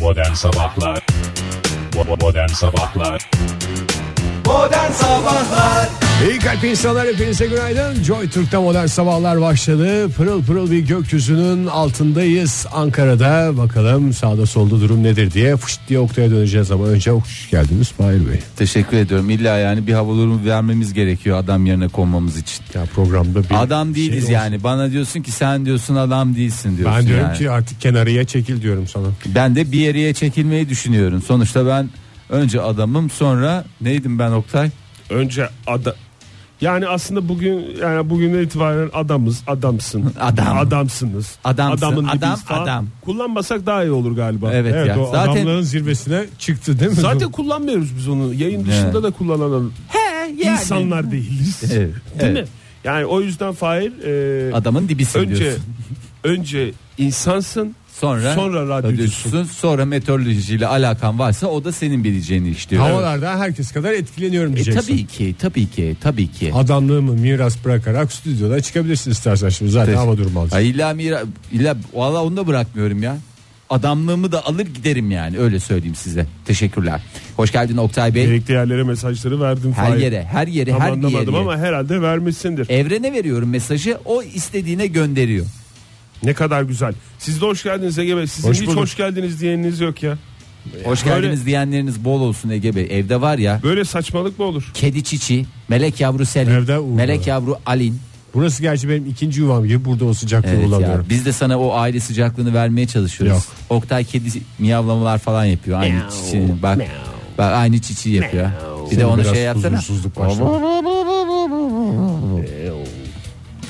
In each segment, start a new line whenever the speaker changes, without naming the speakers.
Modern Sabahlar Bo- Modern Sabahlar
Modern Sabahlar
İyi kalp insanlar hepinize günaydın. Joy Türk'te modern sabahlar başladı. Pırıl pırıl bir gökyüzünün altındayız Ankara'da. Bakalım sağda solda durum nedir diye fışt diye Oktay'a döneceğiz ama önce hoş geldiniz Fahir Bey.
Teşekkür ediyorum. İlla yani bir hava durumu vermemiz gerekiyor adam yerine konmamız için.
Ya programda bir
Adam
şey
değiliz
olsun.
yani. Bana diyorsun ki sen diyorsun adam değilsin diyorsun.
Ben diyorum
yani.
ki artık kenarıya çekil diyorum sana.
ben de bir yere çekilmeyi düşünüyorum. Sonuçta ben önce adamım sonra neydim ben Oktay?
Önce ada yani aslında bugün yani bugünden itibaren adamız, adamsın.
Adam.
Adamsınız.
Adamsın,
dibiyiz
adam,
falan.
adam.
Kullanmasak daha iyi olur galiba.
Evet, ya.
o
Zaten
adamlığın zirvesine çıktı değil mi?
Zaten kullanmıyoruz biz onu. Yayın dışında da kullanan insanlar değiliz.
Evet,
Değil
evet.
mi? Yani o yüzden Fahir e,
adamın dibisin
önce
diyorsun.
önce insansın.
Sonra
sonra radyocusun.
radyocusun, sonra meteorolojiyle alakan varsa o da senin bileceğini işliyor.
Havalardan herkes kadar etkileniyorum
E,
diyeceksin.
tabii ki, tabii ki, tabii ki.
Adamlığımı miras bırakarak stüdyoda çıkabilirsin istersen şimdi zaten hava durumu alacağız.
Ay illa mira, illa valla onu da bırakmıyorum ya. Adamlığımı da alır giderim yani öyle söyleyeyim size. Teşekkürler. Hoş geldin Oktay Bey.
Gerekli yerlere mesajları verdim
E- Her
Fahir.
yere, her yere, E-
Tam
her bir
anlamadım
yere.
ama herhalde vermişsindir.
Evrene veriyorum mesajı. O istediğine gönderiyor.
Ne kadar güzel. Siz de hoş geldiniz Ege Bey. Sizin
Hoş
hiç
bulduk.
hoş geldiniz diyeniniz yok ya.
Hoş
Böyle-
geldiniz diyenleriniz bol olsun Ege Bey. Evde var ya
Böyle saçmalık mı olur?
kedi çiçi, melek yavru
Evde
Selin,
uğurlu.
melek yavru Alin.
Burası gerçi benim ikinci yuvam gibi burada o sıcaklığı
Evet ya,
bulamıyorum.
biz de sana o aile sıcaklığını vermeye çalışıyoruz.
Yok.
Oktay kedi miyavlamalar falan yapıyor. Aynı çiçeği bak. Bak aynı çiçeği yapıyor. Bir de
Senin
onu
biraz
şey yapsana.
huzursuzluk başladı.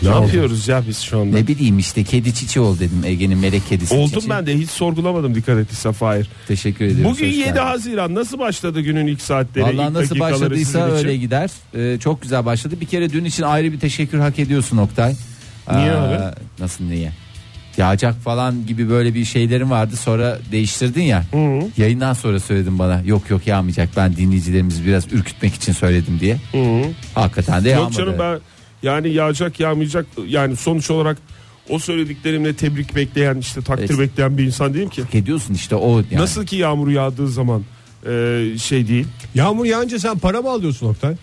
Ne
oldu?
yapıyoruz ya biz şu anda?
Ne bileyim işte kedi çiçi ol dedim Ege'nin melek kedisi.
Oldum
çiçi.
ben de hiç sorgulamadım dikkat ettiyse Fahir.
Teşekkür ediyorum.
Bugün 7 Haziran nasıl başladı günün ilk saatleri?
Valla
ilk
nasıl
dakikaları
başladıysa
sizin için?
öyle gider. Ee, çok güzel başladı. Bir kere dün için ayrı bir teşekkür hak ediyorsun Oktay.
Niye abi?
Nasıl niye? Yağacak falan gibi böyle bir şeylerin vardı sonra değiştirdin ya. Yayından sonra söyledim bana. Yok yok yağmayacak ben dinleyicilerimizi biraz ürkütmek için söyledim diye. Hakikaten de
Yok
yağmadı.
canım ben yani yağacak yağmayacak yani sonuç olarak o söylediklerimle tebrik bekleyen işte takdir
Evet.
bekleyen bir insan değilim ki.
Hak ediyorsun işte o yani.
Nasıl ki yağmur yağdığı zaman e, şey değil.
Yağmur yağınca sen para mı alıyorsun Oktay?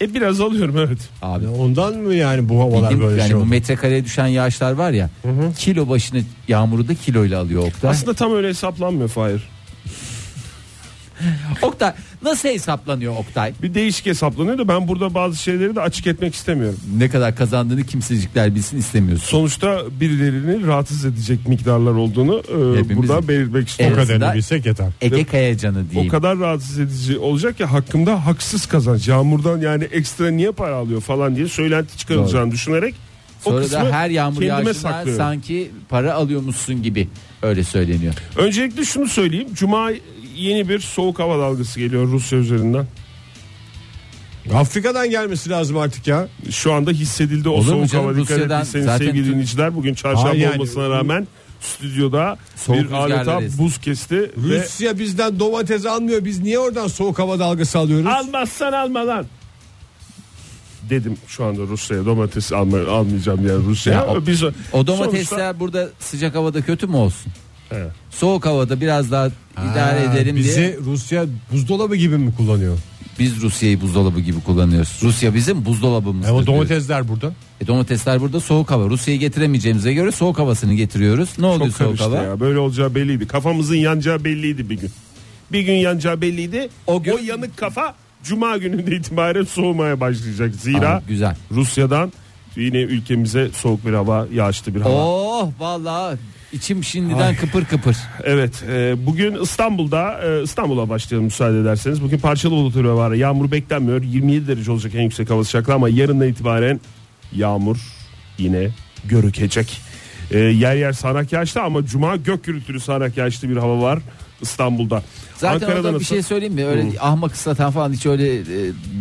E biraz alıyorum evet.
Abi
Ya Ondan mı yani bu havalar
Bildiğim-
böyle
yani
şey
bu
oldu?
metrekareye düşen yağışlar var ya. Kilo başına yağmuru da kiloyla alıyor Oktay.
Aslında tam öyle hesaplanmıyor Fahir.
Oktay nasıl hesaplanıyor Oktay?
Bir değişik hesaplanıyor da ben burada bazı şeyleri de açık etmek istemiyorum.
Ne kadar kazandığını kimsecikler bilsin istemiyorsun.
Sonuçta birilerini rahatsız edecek miktarlar olduğunu e,
Hepimiz-
buradan belirtmek istiyorum.
O
Evet.
kadarını
Aslında-
bilsek yeter.
Ege Kayacan'ı
O
diyeyim.
kadar rahatsız edici olacak ki hakkımda haksız kazanç. Yağmurdan yani ekstra niye para alıyor falan diye söylenti çıkarılacağını düşünerek o
Sonra
kısmı
da her yağmur
kendime
yağışından
saklıyorum.
sanki para alıyormuşsun gibi öyle söyleniyor.
Öncelikle şunu söyleyeyim. Cuma yeni bir soğuk hava dalgası geliyor Rusya üzerinden.
Afrika'dan gelmesi lazım artık ya.
Şu anda hissedildi o
Olur mu
soğuk
canım?
hava. Dikkat
Rusya'dan
ettiyseniz
zaten
sevgili
tüm-
dinleyiciler bugün çarşamba
Hayır yani-
olmasına rağmen stüdyoda
Soğuk
bir adeta
rüzgarlar esti.
buz kesti ve
Rusya bizden domates almıyor. Biz niye oradan soğuk hava dalgası alıyoruz?
Almazsan alma lan. Dedim şu anda Rusya'ya domates alma, almayacağım yani Rusya'ya.
Ya o-
Biz
O domatesler
Sonuçta-
burada sıcak havada kötü mü olsun?
Evet.
Soğuk havada biraz daha idare
Ha,
edelim
bizi
diye
Rusya buzdolabı gibi mi kullanıyor?
biz Rusya'yı buzdolabı gibi kullanıyoruz. Rusya bizim
E,
buzdolabımız.
Ama E, domatesler burada.
E, domatesler burada soğuk hava. Rusya'yı getiremeyeceğimize göre soğuk havasını getiriyoruz. Ne oluyor
çok
soğuk
karıştı
hava?
ya. Böyle olacağı belliydi. Kafamızın yanacağı belliydi bir gün. Bir gün yanacağı belliydi.
O
O,
gün-
yanık kafa cuma gününde itibaren soğumaya başlayacak. Zira
Aa, güzel.
Rusya'dan yine ülkemize soğuk bir hava yağışlı bir hava.
Oh vallahi içim şimdiden kıpır kıpır.
Evet e, bugün İstanbul'da e, İstanbul'a başlayalım müsaade ederseniz. Bugün parçalı bulutlu ve var. Yağmur beklenmiyor. 27 derece olacak en yüksek hava sıcaklığı ama yarından itibaren yağmur yine görükecek. E, yer yer sağanak yağışlı ama cuma gök gürültülü sağanak yağışlı bir hava var İstanbul'da.
Zaten orada bir
nasıl?
şey söyleyeyim mi? Öyle ahmak ıslatan falan hiç öyle e,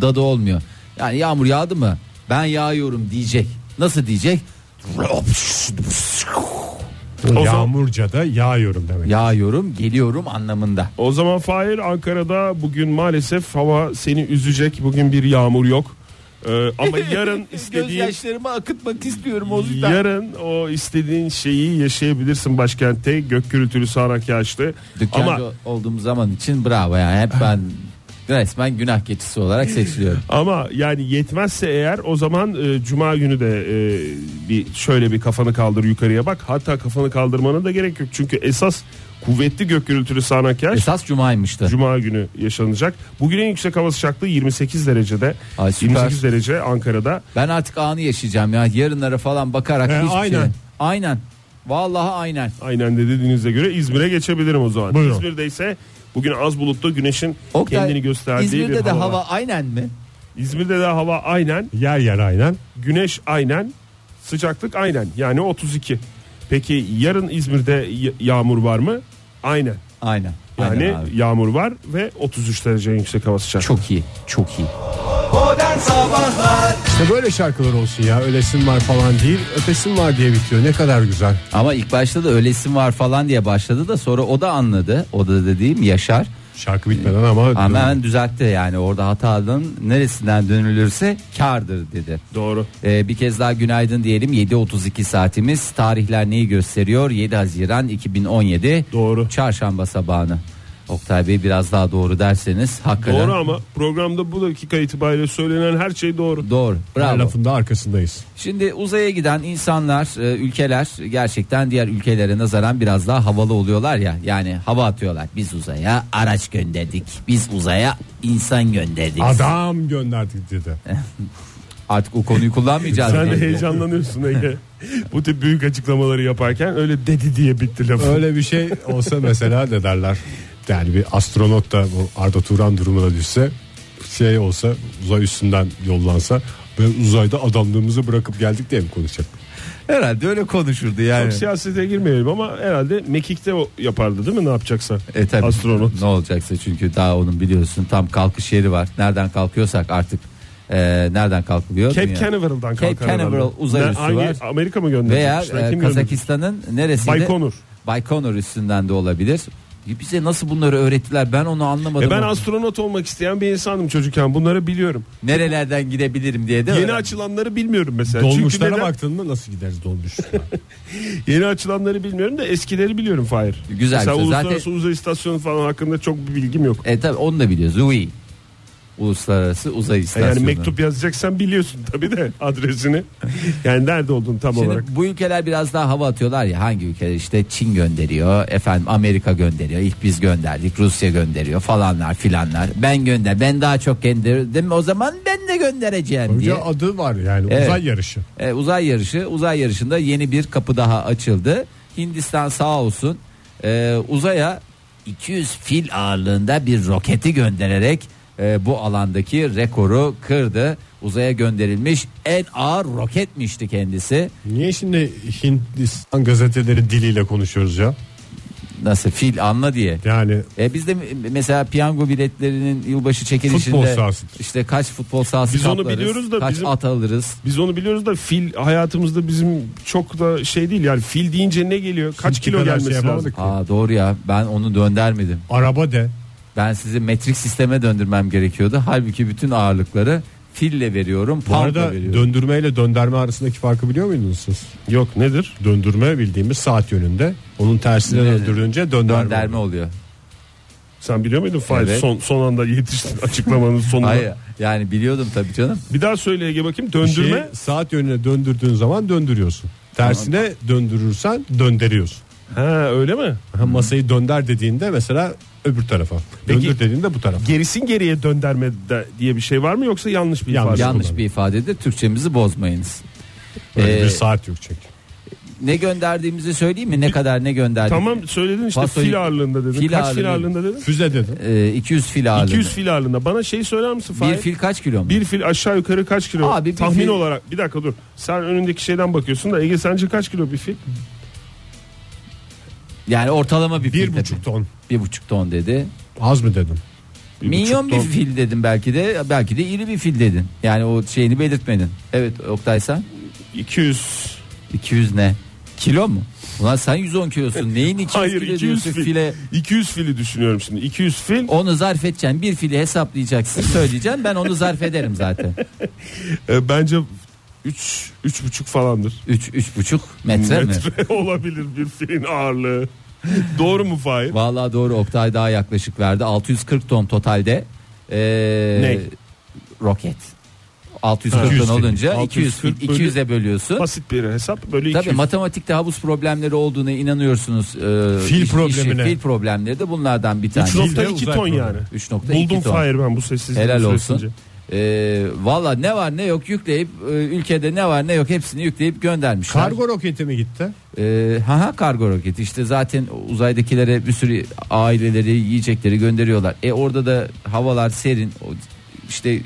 dadı olmuyor. Yani yağmur yağdı mı? Ben yağıyorum diyecek. Nasıl diyecek?
zaman-
Yağmurca da yağıyorum demek.
Yağıyorum, geliyorum anlamında.
O zaman Fahir Ankara'da bugün maalesef hava seni üzecek. Bugün bir yağmur yok. Ee, ama yarın istediğin
Gözyaşlarımı akıtmak istiyorum o yüzden.
Yarın o istediğin şeyi yaşayabilirsin başkentte. Gök gürültülü sağanak yağışlı.
Dükkancı
Ama
olduğum zaman için bravo yani hep ben resmen günah keçisi olarak seçiliyorum.
ama yani yetmezse eğer o zaman e, cuma günü de e, bir şöyle bir kafanı kaldır yukarıya bak. Hatta kafanı kaldırmana da gerek yok. Çünkü esas kuvvetli gök gürültülü sağanak yağış
Esas cumaymıştı.
Cuma günü yaşanacak. Bugün en yüksek hava sıcaklığı 28 derecede.
Ay, süper.
28 derece Ankara'da.
Ben artık anı yaşayacağım ya. Yarınlara falan bakarak
He,
hiçbir şey-
aynen.
Aynen. Vallahi aynen.
Aynen de dediğinize göre İzmir'e geçebilirim o zaman.
Buyurun.
İzmir'de ise bugün az bulutlu güneşin
Oktay,
kendini gösterdiği
İzmir'de
bir
de
hava.
hava
var.
aynen mi?
İzmir'de de hava aynen,
Yer yer aynen.
güneş aynen, sıcaklık aynen. Yani 32. Peki yarın İzmir'de y- yağmur var mı? Aynen.
Aynen.
Yani
aynen abi.
yağmur var ve 33 derece yüksek hava sıcaklığı.
Çok iyi. Çok iyi.
Modern Sabahlar
İşte böyle şarkılar olsun ya. Ölesin var falan değil. Ötesin var diye bitiyor. Ne kadar güzel.
Ama ilk başta da öylesin var falan diye başladı da sonra o da anladı. O da dediğim Yaşar.
Şarkı bitmeden ama.
Ama hemen düzeltti yani orada hatanın neresinden dönülürse kardır dedi.
Doğru.
Ee, bir kez daha günaydın diyelim 7.32 saatimiz tarihler neyi gösteriyor 7 Haziran 2017
Doğru.
çarşamba sabahını Oktay Bey biraz daha doğru derseniz hakikaten
Doğru ama programda bu dakika itibariyle söylenen her şey doğru.
Doğru,
Her
bravo
lafın da arkasındayız.
Şimdi uzaya giden insanlar, e, ülkeler gerçekten diğer ülkelere nazaran biraz daha havalı oluyorlar ya. Yani hava atıyorlar. Biz uzaya araç gönderdik. Biz uzaya insan gönderdik.
Adam gönderdik dedi.
Artık o konuyu kullanmayacağız.
Sen de
diye.
heyecanlanıyorsun Ege. Bu tip büyük açıklamaları yaparken öyle dedi diye bitti lafı.
Öyle bir şey olsa mesela ne derler? Yani bir astronot da bu Arda Turan durumuna düşse şey olsa uzay üstünden yollansa ve uzayda adamlığımızı bırakıp geldik diye mi konuşacak?
Herhalde öyle konuşurdu yani.
Çok şey siyasete girmeyelim ama herhalde Mekik'te o yapardı değil mi ne yapacaksa?
E tabii.
Astronot.
Ne olacaksa çünkü daha onun biliyorsun tam kalkış yeri var. Nereden kalkıyorsak artık e, nereden kalkılıyor?
Cape
Dünya-
Canaveral'dan
Cape
kalkar herhalde.
Canaveral uzay
Ne-
üssü
hangi-
var.
Amerika mı gönderdi?
Veya
İşte
e,
kim gönderdi?
Kazakistan'ın neresinde?
Baykonur.
Baykonur üstünden de olabilir. E, Bize nasıl bunları öğrettiler ben onu anlamadım.
E ben
Ama
astronot olmak isteyen bir insandım çocukken. Bunları biliyorum.
Nerelerden gidebilirim diye de
yeni
öğrendim.
açılanları bilmiyorum mesela. Çünkü
Dolmuşlara
neden?
baktın mı nasıl gideriz dolmuş?
Yeni açılanları bilmiyorum da eskileri biliyorum Fahir.
Güzel,
Mesela
güzel.
uluslararası
Zaten-
uzay istasyonu falan hakkında çok bir bilgim yok.
E tabi onu da biliyoruz. UI. Uluslararası Uzay İstasyonu.
E, Yani mektup yazacaksan biliyorsun tabii de adresini. Yani nerede olduğunu tam
Şimdi
olarak.
bu ülkeler biraz daha hava atıyorlar ya hangi ülkeler işte Çin gönderiyor efendim Amerika gönderiyor ilk biz gönderdik Rusya gönderiyor falanlar filanlar ben gönder ben daha çok gönderdim o zaman ben de göndereceğim diye.
Önce adı var yani
Evet.
uzay yarışı.
E, uzay yarışı uzay yarışında yeni bir kapı daha açıldı Hindistan sağ olsun e, uzaya 200 fil ağırlığında bir roketi göndererek e, bu alandaki rekoru kırdı uzaya gönderilmiş en ağır roketmişti kendisi
Niye şimdi Hindistan gazeteleri diliyle konuşuyoruz ya?
nasıl fil anla diye
Yani
E biz de mesela piyango biletlerinin yılbaşı çekilişinde
Futbol sahasıdır.
işte kaç futbol sahası
Biz onu
kaplarız,
biliyoruz da
kaç
bizim-
at alırız.
Biz onu biliyoruz da fil hayatımızda bizim çok da şey değil yani fil deyince ne geliyor? Kaç
şimdiki
kilo
kadar
gelmesi
şey
lazım?
yapamadık ki.
Aa doğru ya ben onu döndermedim.
Araba de.
Ben sizi metrik sisteme döndürmem gerekiyordu. Halbuki bütün ağırlıkları fille veriyorum,
Bu
poundla
arada
veriyorum.
döndürme ile dönderme arasındaki farkı biliyor muydunuz siz?
Yok nedir?
Döndürme bildiğimiz saat yönünde. Onun tersine
Evet.
döndürünce dönderme.
Dönderme oluyor.
Sen biliyor muydun Fahir?
Evet.
Son, son anda yetiştin açıklamanın sonuna.
Hayır yani biliyordum tabii canım.
Bir daha söyle Ege bakayım
Bir şey-
döndürme.
şeyi
şey-
saat yönüne döndürdüğün zaman döndürüyorsun. Tersine döndürürsen Hmm. döndürüyorsun.
Ha öyle mi?
Ha, masayı dönder dediğinde mesela öbür tarafa.
Peki-
Döndür dediğinde bu tarafa.
Gerisin geriye dönderme de- diye bir şey var mı yoksa yanlış bir
Yanlış.
ifade?
Yan-
Yanlış
kullanıyor.
bir ifadedir. Türkçemizi bozmayınız.
Öyle
Ee,
bir saat yok çünkü.
Ne gönderdiğimizi söyleyeyim mi? Ne kadar ne gönderdik?
Tamam söyledin işte
Fasoyu-
fil ağırlığında dedin.
Fil
Kaç fil
ağırlığı.
ağırlığında dedin?
Füze dedim.
Ee, 200 fil ağırlığında.
200 fil ağırlığında. Bana şey söyler misin Fahir?
bir fil kaç kilo mu?
Bir fil aşağı yukarı kaç kilo?
Abi bir
Tahmin
fil-
olarak bir dakika dur. Sen önündeki şeyden bakıyorsun da Ege sence kaç kilo bir fil?
Yani ortalama bir, fil
Bir
dedi.
buçuk ton.
Bir buçuk ton dedi.
Az mı dedim?
Bir
Minyon
buçuk
bir
ton.
fil dedim belki de belki de iri bir fil dedin. Yani o şeyini belirtmedin. Evet Oktay sen
200
200 ne? Kilo mu? Ulan sen 110 kilosun. Neyin 200
Hayır
kilo
200
diyorsun
fil.
file?
200 fili düşünüyorum şimdi. 200 fil.
Onu zarf edeceksin. Bir fili hesaplayacaksın. Söyleyeceğim. Ben onu zarf ederim zaten.
e, bence 3 3,5 falandır.
3 3,5 metre mi?
Metre olabilir bir filin ağırlığı. Doğru mu Fahir?
Vallahi doğru Oktay daha yaklaşık verdi. 640 ton totalde. Ee,
Ne?
Roket. 640
200
ton olunca 200
640 bölü-
200'e bölüyorsun.
Basit bir hesap. Böyle
Tabii
200.
matematikte havuz problemleri olduğuna inanıyorsunuz. Ee,
Fil problemine.
fil problemleri de bunlardan bir tanesi.
nokta-
3.2
uzak
ton
doğru.
yani.
3.2
Buldum
ton.
Fahir ben bu sessizliği.
Helal
süresince.
olsun. Ee, Valla ne var ne yok yükleyip e, ülkede ne var ne yok hepsini yükleyip göndermişler.
Kargo roketi mi gitti?
Ee, ha ha kargo roketi işte zaten uzaydakilere bir sürü aileleri yiyecekleri gönderiyorlar. E orada da havalar serin O işte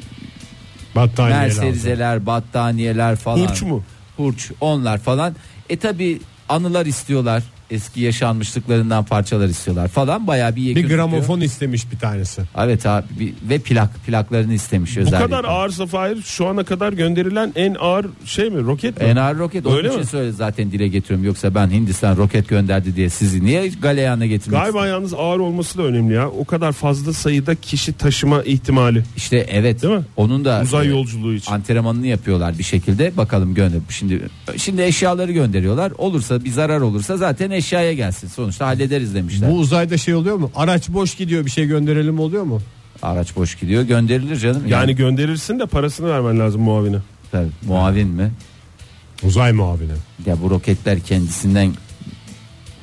Battaniyeler aldı.
merserizeler, battaniyeler falan.
Hurç mu?
Hurç onlar falan. E tabi anılar istiyorlar. Eski yaşanmışlıklarından parçalar istiyorlar falan. Bayağı bir yekün
Bir
tutuyor.
gramofon istemiş bir tanesi.
Evet abi bir- ve plak plaklarını istemiş
Bu
özellikle.
kadar ağırsa Fahir şu ana kadar gönderilen en ağır şey mi? Roket mi?
Enar Roket onun
Öyle
için
mi?
söyle zaten dile getiriyorum. Yoksa ben Hindistan roket gönderdi diye sizi niye galeyana getirmek
Galiba
istedim?
yalnız ağır olması da önemli ya. O kadar fazla sayıda kişi taşıma ihtimali.
İşte evet.
Değil mi?
Onun da
Uzay
e,
yolculuğu için.
antrenmanını yapıyorlar bir şekilde. Bakalım gönder. Şimdi şimdi eşyaları gönderiyorlar. Olursa bir zarar olursa zaten eşyaya gelsin. Sonuçta hallederiz demişler.
Bu uzayda şey oluyor mu? Araç boş gidiyor bir şey gönderelim oluyor mu?
Araç boş gidiyor. Gönderilir canım.
Yani gönderirsin de parasını vermen lazım muavine.
Tabii, muavin mi?
Uzay muavini.
Ya bu roketler kendisinden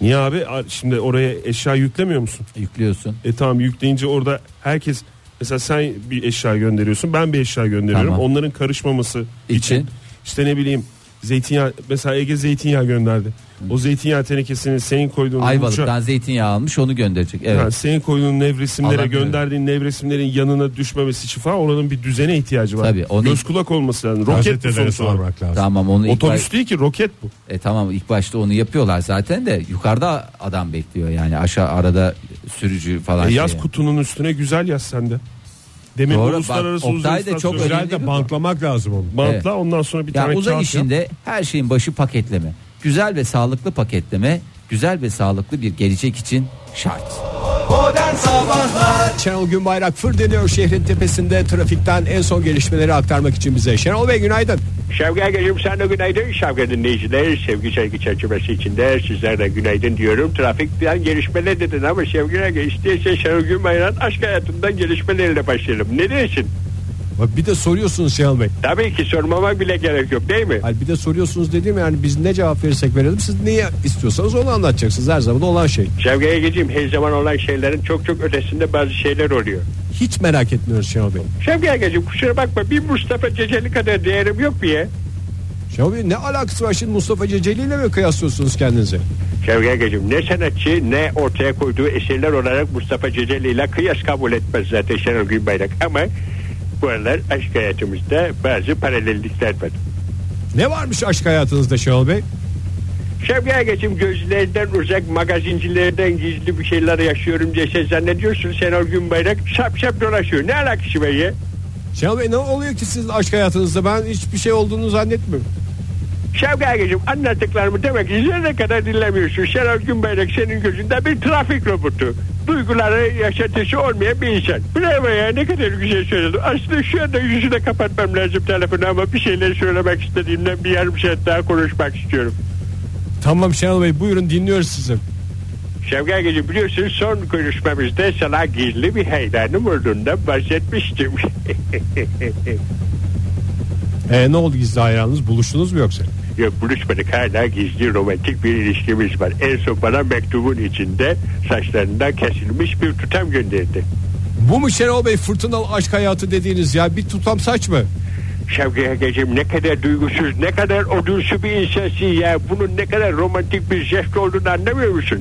Niye abi? A- Şimdi oraya eşya yüklemiyor musun?
yüklüyorsun.
E tamam yükleyince orada herkes mesela sen bir eşya gönderiyorsun ben bir eşya gönderiyorum.
Tamam.
Onların karışmaması için.
İçin.
işte ne bileyim zeytinyağı mesela Ege zeytinyağı gönderdi. O zeytinyağı tenekesini senin koyduğun
Ayvalık'tan zeytinyağı almış onu gönderecek. Evet.
Yani senin koyduğun nevresimlere
Allah bilir.
gönderdiğin nevresimlerin yanına düşmemesi için falan oranın bir düzene ihtiyacı var.
Tabii, onu-
Göz kulak olması lazım. Roket bu
Gazetelere
sonuç olarak.
sormak lazım.
Tamam onu ilk
Otobüs
baş-
değil ki roket bu.
E tamam ilk başta onu yapıyorlar zaten de yukarıda adam bekliyor yani aşağı arada sürücü falan.
E, yaz
şey.
kutunun üstüne güzel yaz sende. Demin
Doğru,
uluslararası
bak,
uzun
Oktay da çok
istasyon-
önemli.
Uzayda bantlamak lazım onu.
Bantla
Evet.
ondan sonra bir
Ya
tane
uzay
kağıt yap.
işinde her şeyin başı paketleme. Güzel ve sağlıklı paketleme, güzel ve sağlıklı bir gelecek için şart.
Modern Sabahlar
Şenol Günbayrak fır deniyor şehrin tepesinde trafikten en son gelişmeleri aktarmak için bize. Şenol Bey günaydın.
Şevki Ergeciğim sen de günaydın. Şevki dinleyiciler sevgi saygı çerçevesi içinde sizler de günaydın diyorum. Trafikten gelişmeler dedin ama Şevki Erge istiyorsan Şenol Günbayrak'ın aşk hayatından gelişmelerle başlayalım. Ne diyorsun?
Bak bir de soruyorsunuz Şenol Bey.
Tabii ki sormama bile gerek yok değil mi?
Hayır, bir de soruyorsunuz dediğim yani biz ne cevap verirsek verelim siz neyi istiyorsanız onu anlatacaksınız. Her zaman olan şey.
Şevki Ergeciğim her zaman olan şeylerin çok çok ötesinde bazı şeyler oluyor.
Hiç merak etmiyoruz Şenol Bey.
Şevki Ergeciğim kusura bakma bir Mustafa Ceceli kadar değerim yok mu ya?
Şenol Bey ne alakası var şimdi Mustafa Ceceli ile mi kıyaslıyorsunuz kendinizi?
Şevki Ergeciğim ne sanatçı ne ortaya koyduğu eserler olarak Mustafa Ceceli ile kıyas kabul etmez zaten Şenol Günbayrak ama bu aralar aşk hayatımızda bazı paralellikler var.
Ne varmış aşk hayatınızda Şenol Bey?
Şevki Ergeciğim gözlerden uzak magazincilerden gizli bir şeyler yaşıyorum diye sen zannediyorsun Şenol Günbayrak şap şap dolaşıyor. Ne alakası var ya?
Şenol Bey ne oluyor ki sizin aşk hayatınızda ben hiçbir şey olduğunu zannetmiyorum.
Şevki Ergeciğim anlattıklarımı demek ne kadar dinlemiyorsun. Şenol Günbayrak senin gözünde bir trafik robotu. Duyguları yaşatısı olmayan bir insan. Bravo ya ne kadar güzel söyledin. Aslında şu anda yüzüne kapatmam lazım telefonu ama bir şeyler söylemek istediğimden bir yarım saat daha konuşmak istiyorum.
Tamam Şenol Bey buyurun dinliyoruz sizi.
Şevki Ergeciğim biliyorsun son konuşmamızda sana gizli bir hayranım olduğundan bahsetmiştim.
E, ne oldu gizli hayranınız buluştunuz mu yoksa?
Yok buluşmadık hala gizli romantik bir ilişkimiz var. En son bana mektubun içinde saçlarından kesilmiş bir tutam gönderdi.
Bu mu Şenol Bey fırtınalı aşk hayatı dediğiniz ya bir tutam saç mı?
Şevki Ergeciğim ne kadar duygusuz, ne kadar odunsu bir insansın ya. Bunun ne kadar romantik bir jest olduğunu anlamıyor musun?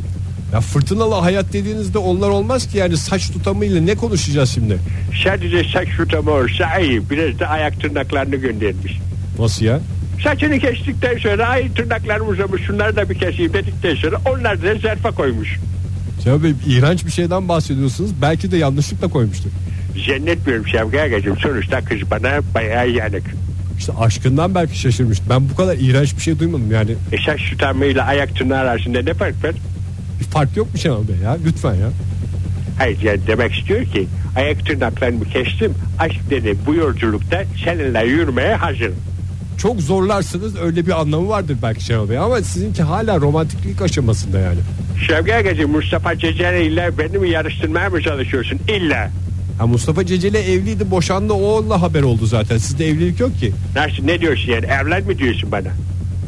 Ya fırtınalı hayat dediğinizde onlar olmaz ki yani saç tutamıyla ne konuşacağız şimdi?
Sadece saç tutama olsa iyi. Biraz da ayak tırnaklarını göndermiş.
Nasıl ya?
Saçını kestikten sonra ay tırnaklarım uzamış şunları da bir keseyim dedikten sonra onlar da zerfa koymuş.
Şenol Bey iğrenç bir şeyden bahsediyorsunuz belki de yanlışlıkla koymuştur.
Zannetmiyorum Şevki Ergeciğim sonuçta kız bana bayağı yanık.
İşte aşkından belki şaşırmış. Ben bu kadar iğrenç bir şey duymadım yani.
E saç tutarmayla ayak tırnağı arasında ne fark var?
Bir fark yok mu Şenol Bey ya? Lütfen ya.
Hayır yani demek istiyor ki ayak tırnaklarımı kestim. Aşk dedi bu yolculukta seninle yürümeye hazırım.
Çok zorlarsınız öyle bir anlamı vardır belki Şenol Bey ama sizinki hala romantiklik aşamasında yani.
Şevki Agacı Mustafa Ceceli ile beni mi yarıştırmaya mı çalışıyorsun? İlla.
Ha Mustafa Ceceli evliydi boşandı o onunla haber oldu zaten. Sizde evlilik yok ki.
Nasıl ne diyorsun yani evlen mi diyorsun bana?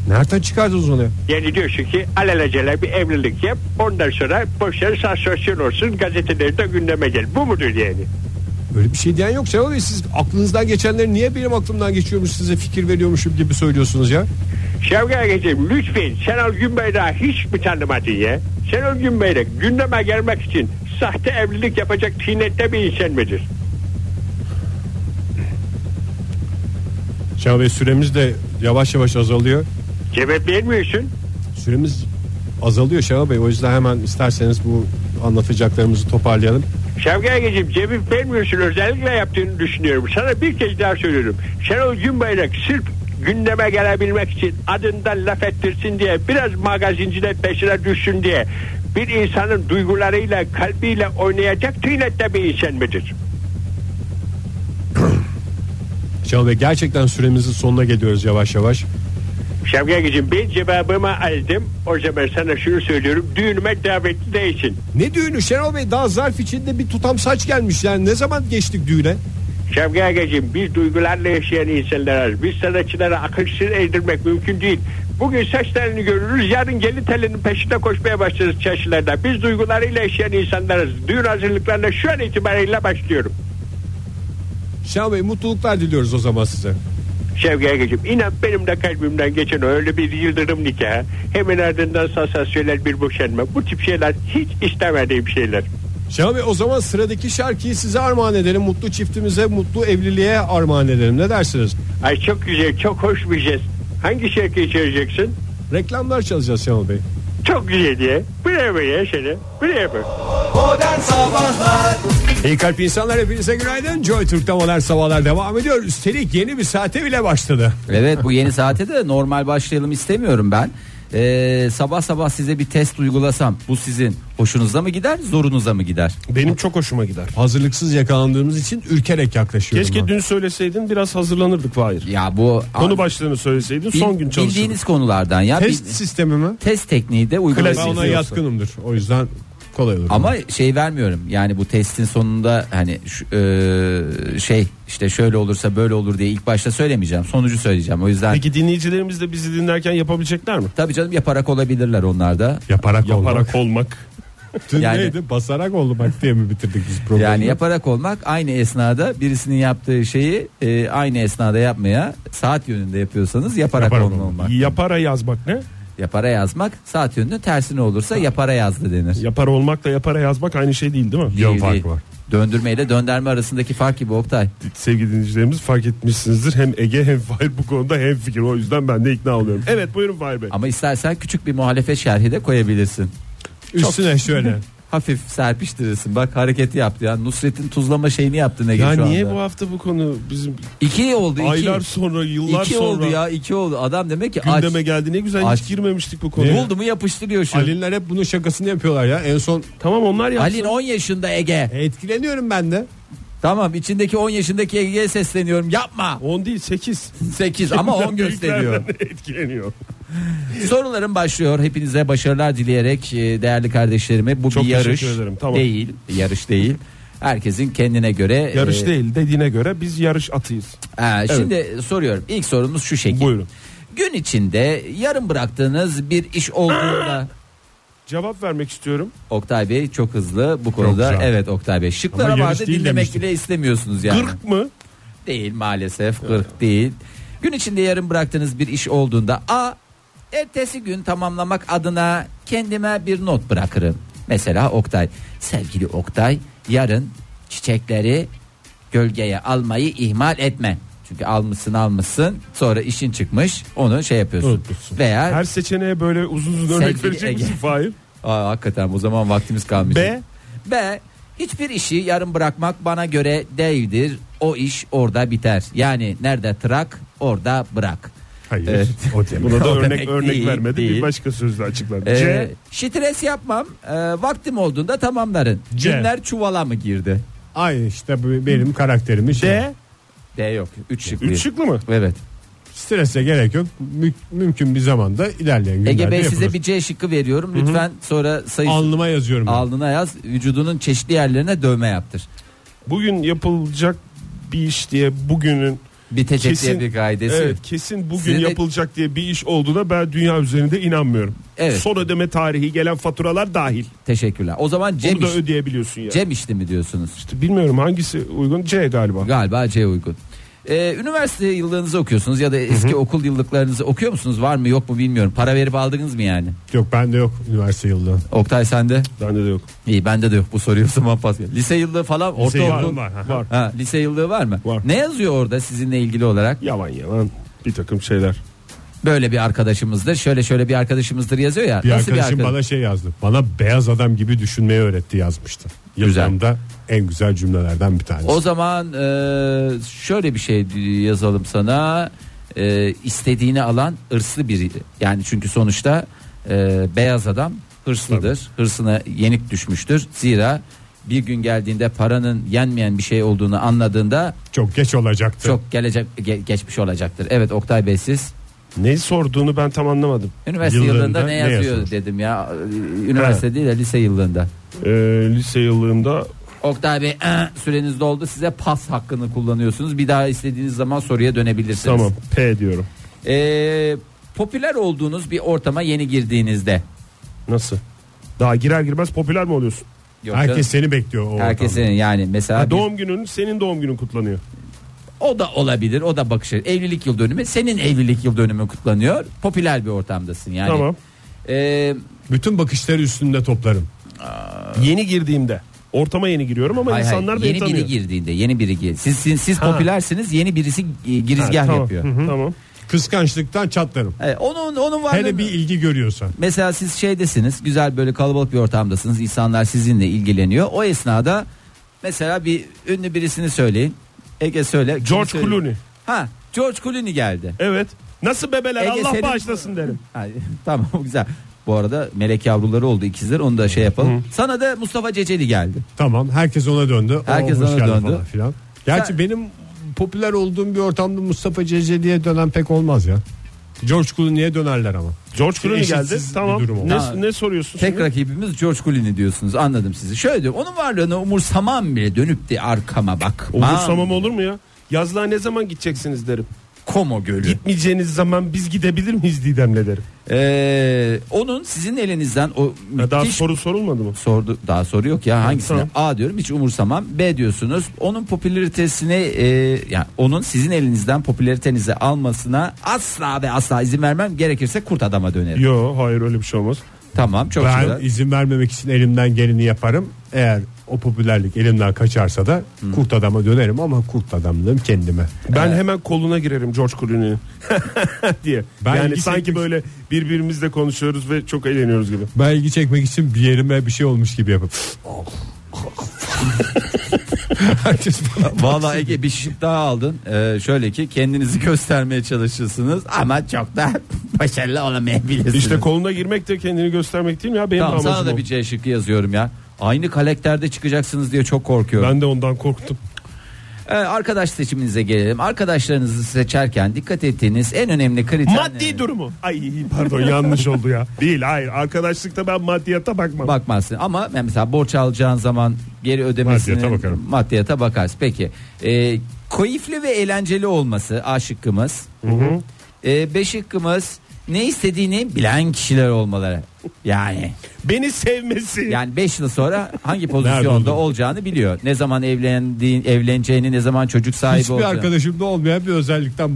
Nereden çıkardınız onu? ya?
Yani diyorsun ki alelacele bir evlilik yap ondan sonra boşver sansasyon olsun gazetelerde gündeme gel. Bu mudur yani?
Öyle bir şey diyen yok Şenol Bey. Siz aklınızdan geçenleri niye benim aklımdan geçiyormuş size fikir veriyormuşum gibi söylüyorsunuz ya.
Şevki Agacım lütfen Şenol Günbeyrak'ı hiç mi tanımadın ya? Şenol Günbeyrak gündeme gelmek için sahte evlilik yapacak tinette bir insan mıdır?
Şenol Bey süremiz de yavaş yavaş azalıyor.
Cevap vermiyorsun.
Süremiz azalıyor Şenol Bey. O yüzden hemen isterseniz bu anlatacaklarımızı toparlayalım.
Şevki Agacım cevap vermiyorsun özellikle yaptığını düşünüyorum. Sana bir kez daha söylüyorum. Şenol Günbayrak sırf gündeme gelebilmek için adından laf ettirsin diye biraz magazinciler peşine düşsün diye bir insanın duygularıyla kalbiyle oynayacak tinette bir insan mıdır?
Şenol Bey gerçekten süremizin sonuna geliyoruz yavaş yavaş.
Şevki Agacım ben cevabımı aldım. O zaman sana şunu söylüyorum. Düğünüme davetli değilsin.
Ne düğünü Şenol Bey daha zarf içinde bir tutam saç gelmiş yani ne zaman geçtik düğüne?
Şevki Agacığım biz duygularla yaşayan insanlarız. Biz sanatçılara akışsız eğdirmek mümkün değil. Bugün saçlarını görürüz yarın gelin telinin peşinde koşmaya başlarız çarşılarda. Biz duygularıyla yaşayan insanlarız. Düğün hazırlıklarına şu an itibariyle başlıyorum.
Şenol Bey mutluluklar diliyoruz o zaman size.
Şevki Agacığım inan benim de kalbimden geçen öyle bir yıldırım nikahı. Hemen ardından sansasyonel bir boşanma. Bu tip şeyler hiç istemediğim şeyler.
Şenol Bey o zaman sıradaki şarkıyı size armağan edelim. Mutlu çiftimize, mutlu evliliğe armağan edelim. Ne dersiniz?
Ay çok güzel çok hoş bir jest. Hangi şarkıyı çözeceksin?
Reklamlar çalacağız Şenol Bey.
Çok güzel diye. Bravo ya seni. Bravo.
Modern Sabahlar
İyi kalp insanlar hepinize günaydın. Joy Türk'te modern sabahlar devam ediyor. Üstelik yeni bir saate bile başladı.
Evet bu yeni saate de normal başlayalım istemiyorum ben. Ee, sabah sabah size bir test uygulasam bu sizin hoşunuza mı gider zorunuza mı gider?
Benim çok hoşuma gider.
Hazırlıksız yakalandığımız için ürkerek yaklaşıyorum.
Keşke
ben.
dün söyleseydin biraz hazırlanırdık Fahir.
Ya bu
Konu başlığını söyleseydin
Bil-
son gün çalışırdık.
Bildiğiniz konulardan ya.
Test
Bil-
sistemi mi?
test tekniği de
Ben
uygulayabilirsiniz.
ona yatkınımdır. O yüzden kolay olur.
Ama şey vermiyorum yani bu testin sonunda hani şu- e, şey işte şöyle olursa böyle olur diye ilk başta söylemeyeceğim. Sonucu söyleyeceğim. O yüzden
Peki dinleyicilerimiz de bizi dinlerken yapabilecekler mi?
tabii canım yaparak olabilirler onlar da.
yaparak, olmak.
Yaparak olmak.
Dün
Yani-
neydi? Basarak olmak diye mi bitirdik biz programı?
Yani yaparak olmak aynı esnada birisinin yaptığı şeyi e, aynı esnada yapmaya saat yönünde yapıyorsanız yaparak,
Yaparak
olma- olmak.
Yapara yazmak ne?
Yapara yazmak saat yönünün tersine olursa yapara yazdı denir.
Yapara olmakla yapara yazmak aynı şey değil değil mi?
Yön
Değil,
farkı
değil.
var.
Döndürmeyle döndürme arasındaki fark gibi Oktay.
Sevgili dinleyicilerimiz fark etmişsinizdir. Hem Ege hem Fahir bu konuda hem fikir. O yüzden ben de ikna oluyorum. Evet buyurun Fahir Bey.
Ama istersen küçük bir muhalefet şerhi de koyabilirsin.
Üstüne şöyle.
Hafif serpiştirirsin. Bak hareketi yaptı ya. Nusret'in tuzlama şeyini yaptı Nege
Ya
şu
niye
anda.
bu hafta bu konu bizim
İki oldu iki.
aylar sonra yıllar
iki
sonra
oldu ya iki oldu. Adam demek ki aç.
gündeme geldi. Ne güzel
Aç.
hiç girmemiştik bu konuya.
Buldu mu yapıştırıyor şu.
Alinler hep bunun şakasını yapıyorlar ya. En son "E,
Tamam onlar yapsın.
Alin 10 yaşında Ege.
etkileniyorum ben de.
Tamam içindeki 10 yaşındaki Ege'ye sesleniyorum. Yapma.
10 değil 8.
8 ama 10 gösteriyor.
etkileniyor.
Sorularım başlıyor. Hepinize başarılar dileyerek e, değerli kardeşlerime. Bu
Çok
bir
teşekkür
yarış
ederim, tamam.
değil. Yarış değil. Herkesin kendine göre.
Yarış
e,
değil dediğine göre biz yarış atıyız.
Ha, şimdi soruyorum. İlk sorumuz şu şekilde.
Buyurun.
Gün içinde yarım bıraktığınız bir iş olduğunda
Ah! Cevap vermek istiyorum.
Oktay Bey çok hızlı bu konuda.
güzel.
Evet Oktay Bey. Şıklara
Ama yarış
vardı
değil
dinlemek
demiştim.
bile istemiyorsunuz yani.
40 mı?
Değil maalesef 40 değil. Gün içinde yarım bıraktığınız bir iş olduğunda A. Ertesi gün tamamlamak adına kendime bir not bırakırım. Mesela Oktay. Sevgili Oktay yarın çiçekleri gölgeye almayı ihmal etme. Çünkü almışsın almışsın sonra işin çıkmış onu şey yapıyorsun. Veya
Her seçeneğe böyle uzun uzun örnek
Sevgili
verecek
Ege.
misin Fahir?
Aa, hakikaten o zaman vaktimiz kalmış.
B?
B. Hiçbir işi yarım bırakmak bana göre değildir. O iş orada biter. Yani nerede trak orada bırak.
Hayır.
Evet.
O demek.
Buna da
O
örnek
demek
örnek
değil,
vermedi. Bir
değil.
başka sözle açıkladı.
Ee,
C.
stres yapmam. Ee, vaktim olduğunda tamamlarım.
C.
Cinler çuvala mı girdi?
Aynı işte bu benim karakterimi şey.
D.
D yok. Üç şık.
Üç şıklı mı?
Evet.
Strese gerek yok. Mü- mümkün bir zamanda ilerleyen günlerde
Ege Bey
yapılır.
size bir C şıkkı veriyorum. Lütfen sonra sayısı
Alnıma yazıyorum. ben.
alnına yaz. Vücudunun çeşitli yerlerine dövme yaptır.
Bugün yapılacak bir iş diye bugünün
Bitecek diye bir kaidesi.
Evet, kesin bugün
Size de-
yapılacak diye bir iş olduğuna ben dünya üzerinde inanmıyorum.
Evet.
Son ödeme tarihi gelen faturalar dahil.
Teşekkürler. O zaman Cem,
Bunu da
iş-
ödeyebiliyorsun ya.
Cem işti mi diyorsunuz?
İşte bilmiyorum hangisi uygun. C galiba.
Galiba C uygun. Ee, üniversite yıllarınızı okuyorsunuz ya da eski okul yıllıklarınızı okuyor musunuz? Var mı yok mu bilmiyorum. Para verip aldınız mı yani?
Yok bende yok üniversite yılında.
Oktay sende?
Bende de yok.
İyi bende de yok bu soruyu o zaman pas. Lise yıllığı falan
Lise
ortaokul.
yılım var. Ha.
Var.
Ha, lise yıllığı var mı?
Var.
Ne yazıyor orada sizinle ilgili olarak?
Yavan yavan bir takım şeyler.
Böyle bir arkadaşımızdır. Şöyle şöyle bir arkadaşımızdır yazıyor ya.
Bir
Nasıl bir
arkadaşım
arkadaş?
bana şey yazdı. Bana beyaz adam gibi düşünmeyi öğretti yazmıştı.
Güzel.
Yazımda en güzel cümlelerden bir tanesi.
O zaman e, şöyle bir şey yazalım sana. E, istediğini alan hırslı biri. Yani çünkü sonuçta e, beyaz adam hırslıdır. Hırsına yenik düşmüştür. Zira bir gün geldiğinde paranın yenmeyen bir şey olduğunu anladığında
Çok geç olacaktı.
çok gelecek ge- geçmiş olacaktır. Evet Oktay Bey siz
Ne sorduğunu ben tam anlamadım.
üniversite
Yıllarında
yıllarında ne
ne
yazıyor
yazılır?
dedim ya. Üniversite değil de lise yıllarında.
Ee, lise yıllığında
Oktay Bey "Eh, süreniz doldu size pas hakkını kullanıyorsunuz. Bir daha istediğiniz zaman soruya dönebilirsiniz.
tamam P diyorum.
Ee, popüler olduğunuz bir ortama yeni girdiğinizde.
Nasıl? Daha girer girmez popüler mi oluyorsun?
Yok
Herkes
canım,
seni bekliyor o
herkesin
ortamda.
yani mesela
Ha,
bir-
doğum günün senin doğum günün kutlanıyor.
o da olabilir o da bakış açı. evlilik yıl dönümü senin evlilik yıl dönümü kutlanıyor popüler bir ortamdasın yani
Tamam.
Ee,
Bütün bakışları üstünde toplarım.
Yeni girdiğimde. Ortama yeni giriyorum ama
hay hay,
insanlar beni
yeni
tanıyor.
biri girdiğinde yeni biri gir siz siz, siz popülersiniz yeni birisi e, girizgah
tamam.
yapıyor
Hı hı, Tamam.
Kıskançlıktan çatlarım.
Ee, onun onun var
Hele bir ilgi görüyorsan.
Mesela siz şeydesiniz güzel böyle kalabalık bir ortamdasınız insanlar sizinle ilgileniyor. O esnada mesela bir ünlü birisini söyleyin. Ege söyle. Kimi
George
söyle?
Clooney.
Ha George Clooney geldi.
Evet. Nasıl bebeler
Ege
Allah
senin-
bağışlasın derim.
Ha, tamam güzel. Bu arada melek yavruları oldu ikizler onu da şey yapalım. Sana da Mustafa Ceceli geldi.
Tamam herkes ona döndü. O
Herkes
hoş
ona
geldin
döndü.
Falan filan. Gerçi
Sen-
benim popüler olduğum bir ortamda Mustafa Ceceli'ye dönen pek olmaz ya. George Clooney'e dönerler ama.
George Clooney geldi.
Eşitsiz bir
Tamam.
durum oldu.
Ne,
Ha.
ne soruyorsun?
Tek
şimdi?
rakibimiz George Clooney diyorsunuz anladım sizi. Şöyle diyorum onun varlığını umursamam bile dönüp de arkama bak.
Umursamam olur mu ya? Yazlığa ne zaman gideceksiniz derim.
Komo gölü.
Gitmeyeceğiniz zaman biz gidebilir miyiz Didem'le derim.
Ee, onun sizin elinizden o
Ya daha
müthiş
soru sorulmadı mı?
sordu daha soru yok ya hangisine
tamam.
A diyorum hiç umursamam B diyorsunuz onun popülaritesini e, yani onun sizin elinizden popülaritenizi almasına asla ve asla izin vermem gerekirse kurt adama dönerim
Yo hayır öyle bir şey olmaz.
tamam çok
Ben
güzel
izin vermemek için elimden geleni yaparım. Eğer o popülerlik elimden kaçarsa da kurt adama dönerim ama kurt adamlığım kendime.
Ben hemen koluna girerim George Clooney'in diye.
Ben
yani
ilgi
sanki
çekmek-
böyle birbirimizle konuşuyoruz ve çok eğleniyoruz gibi.
Ben ilgi çekmek için bir yerime bir şey olmuş gibi yapıp. Herkes bana-
Vallahi Ege bir şık daha aldın Ee, şöyle ki kendinizi göstermeye çalışırsınız ama çok da başarılı olamayabilirsiniz
İşte koluna girmek de kendini göstermek değil mi ya? Benim
tamam
de
sana
amacım
da
o.
bir C şıkkı yazıyorum ya aynı karakterde çıkacaksınız diye çok korkuyorum
Ben de ondan korktum.
Ee, arkadaş seçiminize gelelim. Arkadaşlarınızı seçerken dikkat ettiğiniz en önemli kriter
Maddi durumu. Ay pardon yanlış oldu ya. Değil hayır arkadaşlıkta ben maddiyata bakmam.
bakmazsın ama mesela borç alacağın zaman geri ödemesini
Maddiyata bakarım.
maddiyata bakarsın. Peki. Ee, koyifli ve eğlenceli olması A şıkkımız. Ee, B şıkkımız ne istediğini bilen kişiler olmaları. Yani
Beni sevmesi.
yani 5 yıl sonra hangi
Nerede
pozisyonda
oldu?
olacağını biliyor. Ne zaman evlendiğin, evleneceğini, ne zaman çocuk sahibi
Hiçbir
olacağını.
arkadaşımda olmayan bir özellikten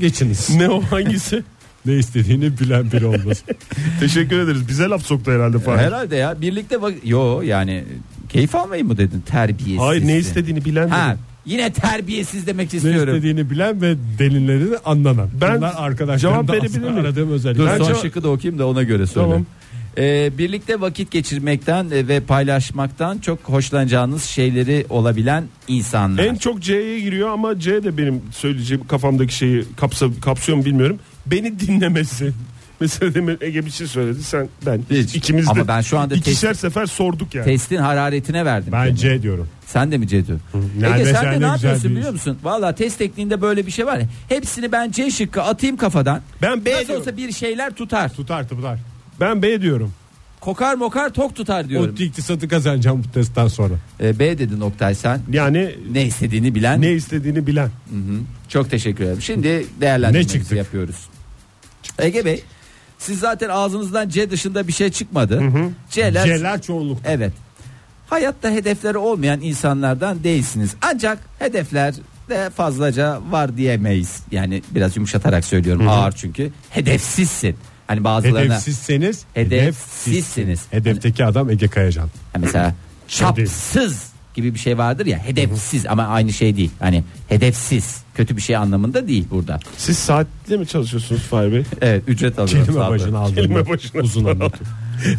Geçiniz.
Ne o hangisi?
Ne istediğini bilen biri olmasın.
Teşekkür ederiz. Bize laf soktu herhalde Fahir.
E, Herhalde ya birlikte bak yo yani keyif almayı mı dedin terbiyesiz.
Hayır ne istediğini bilen
Ha
dedim.
yine terbiyesiz demek
ne
istiyorum.
istediğini bilen ve delinlerini anlanan.
Ben
Bunlar arkadaşlarım
cevap
da
verebilir
aslında
miyim?
aradığım
Dur
özellikler.
Ben
son
cevap-
şıkkı da okuyayım da ona göre söyle.
Tamam.
Ee, birlikte vakit geçirmekten e, ve paylaşmaktan çok hoşlanacağınız şeyleri olabilen insanlar.
En çok C'ye giriyor ama C de benim söyleyeceğim kafamdaki şeyi kapsa, kapsıyor mu bilmiyorum. Beni dinlemesi. Mesela demin Ege bir şey söyledi sen ben
Hiç.
ikimiz de
Ama ben şu anda
ikişer sefer sorduk yani.
Testin hararetine verdim.
Ben C diyorum.
Sen de mi C diyorsun? Ege
Nerede
sen
sen
de
de
ne
güzel
yapıyorsun
değilsin.
biliyor musun? Valla test tekniğinde böyle bir şey var ya. Hepsini ben C şıkkı atayım kafadan.
Ben B
Nasıl
diyorum.
olsa bir şeyler tutar.
Tutar tutar.
Ben B diyorum.
Kokar mokar tok tutar diyorum.
O iktisatı kazanacağım bu testten sonra.
Ee, B dedin Oktay sen.
Yani
Ne istediğini bilen.
ne istediğini bilen.
Çok teşekkür ederim. Şimdi değerlendirmemizi
Ne çıktık?
yapıyoruz. Ege Bey siz zaten ağzınızdan C dışında bir şey çıkmadı. C'ler,
C'ler çoğunluk.
evet. Hayatta hedefleri olmayan insanlardan değilsiniz. Ancak hedefler de fazlaca var diyemeyiz. Yani biraz yumuşatarak söylüyorum ağır çünkü. Hedefsizsin. Hani bazılarına
Hedefsizseniz
Hedefsizsiniz.
Hedefteki adam Ege Kayacan.
Ha mesela çapsız gibi bir şey vardır ya hedefsiz ama aynı şey değil. Hani hedefsiz kötü bir şey anlamında değil burada.
Siz saatli mi çalışıyorsunuz Fahir Bey?
Evet ücret alıyorum.
Kelime
sağ
başına
olun.
aldım.
Kelime
ben.
başına
Uzun
aldım.
anlatıyor.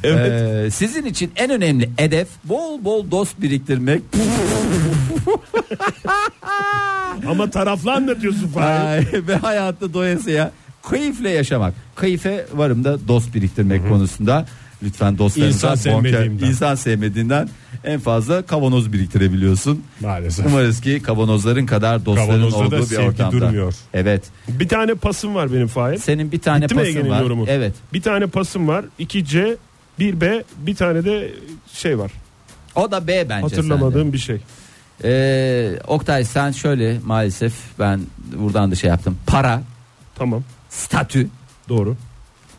Ee, sizin için en önemli hedef bol bol dost biriktirmek.
Ama taraflı anlatıyorsun Fahir.
Ay, Ve hayatta doyasıya keyifle yaşamak. Keyfe varım da dost biriktirmek konusunda. Lütfen dostlarınızdan
İnsan
bonker-
sevmediğimden.
insan sevmediğinden en fazla kavanoz biriktirebiliyorsun.
Maalesef.
Umarız ki kavanozların kadar dostların
Kavanozda da
olduğu bir
sevgi
ortamda.
durmuyor.
Evet.
Bir tane pasım var benim Fahir.
Senin bir tane
Bitti mi
pasın
Ege'nin
var.
yorumu?
Evet.
Bir tane pasım var. 2 C, 1 B, bir tane de şey var.
O da B bence. sende.
Hatırlamadığım bir şey.
Ee, Oktay sen şöyle maalesef ben buradan da şey yaptım. Para,
Tamam.
statü
Doğru.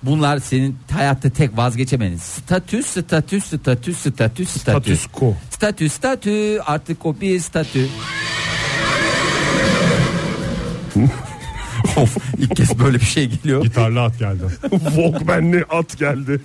bunlar senin hayatta tek vazgeçemeniz. Statü, statü, statü, statü, statü.
Status quo.
Statü, statü artık o bir statü. of ilk kez böyle bir şey geliyor.
Gitarlı at geldi.
Walkman'li at geldi.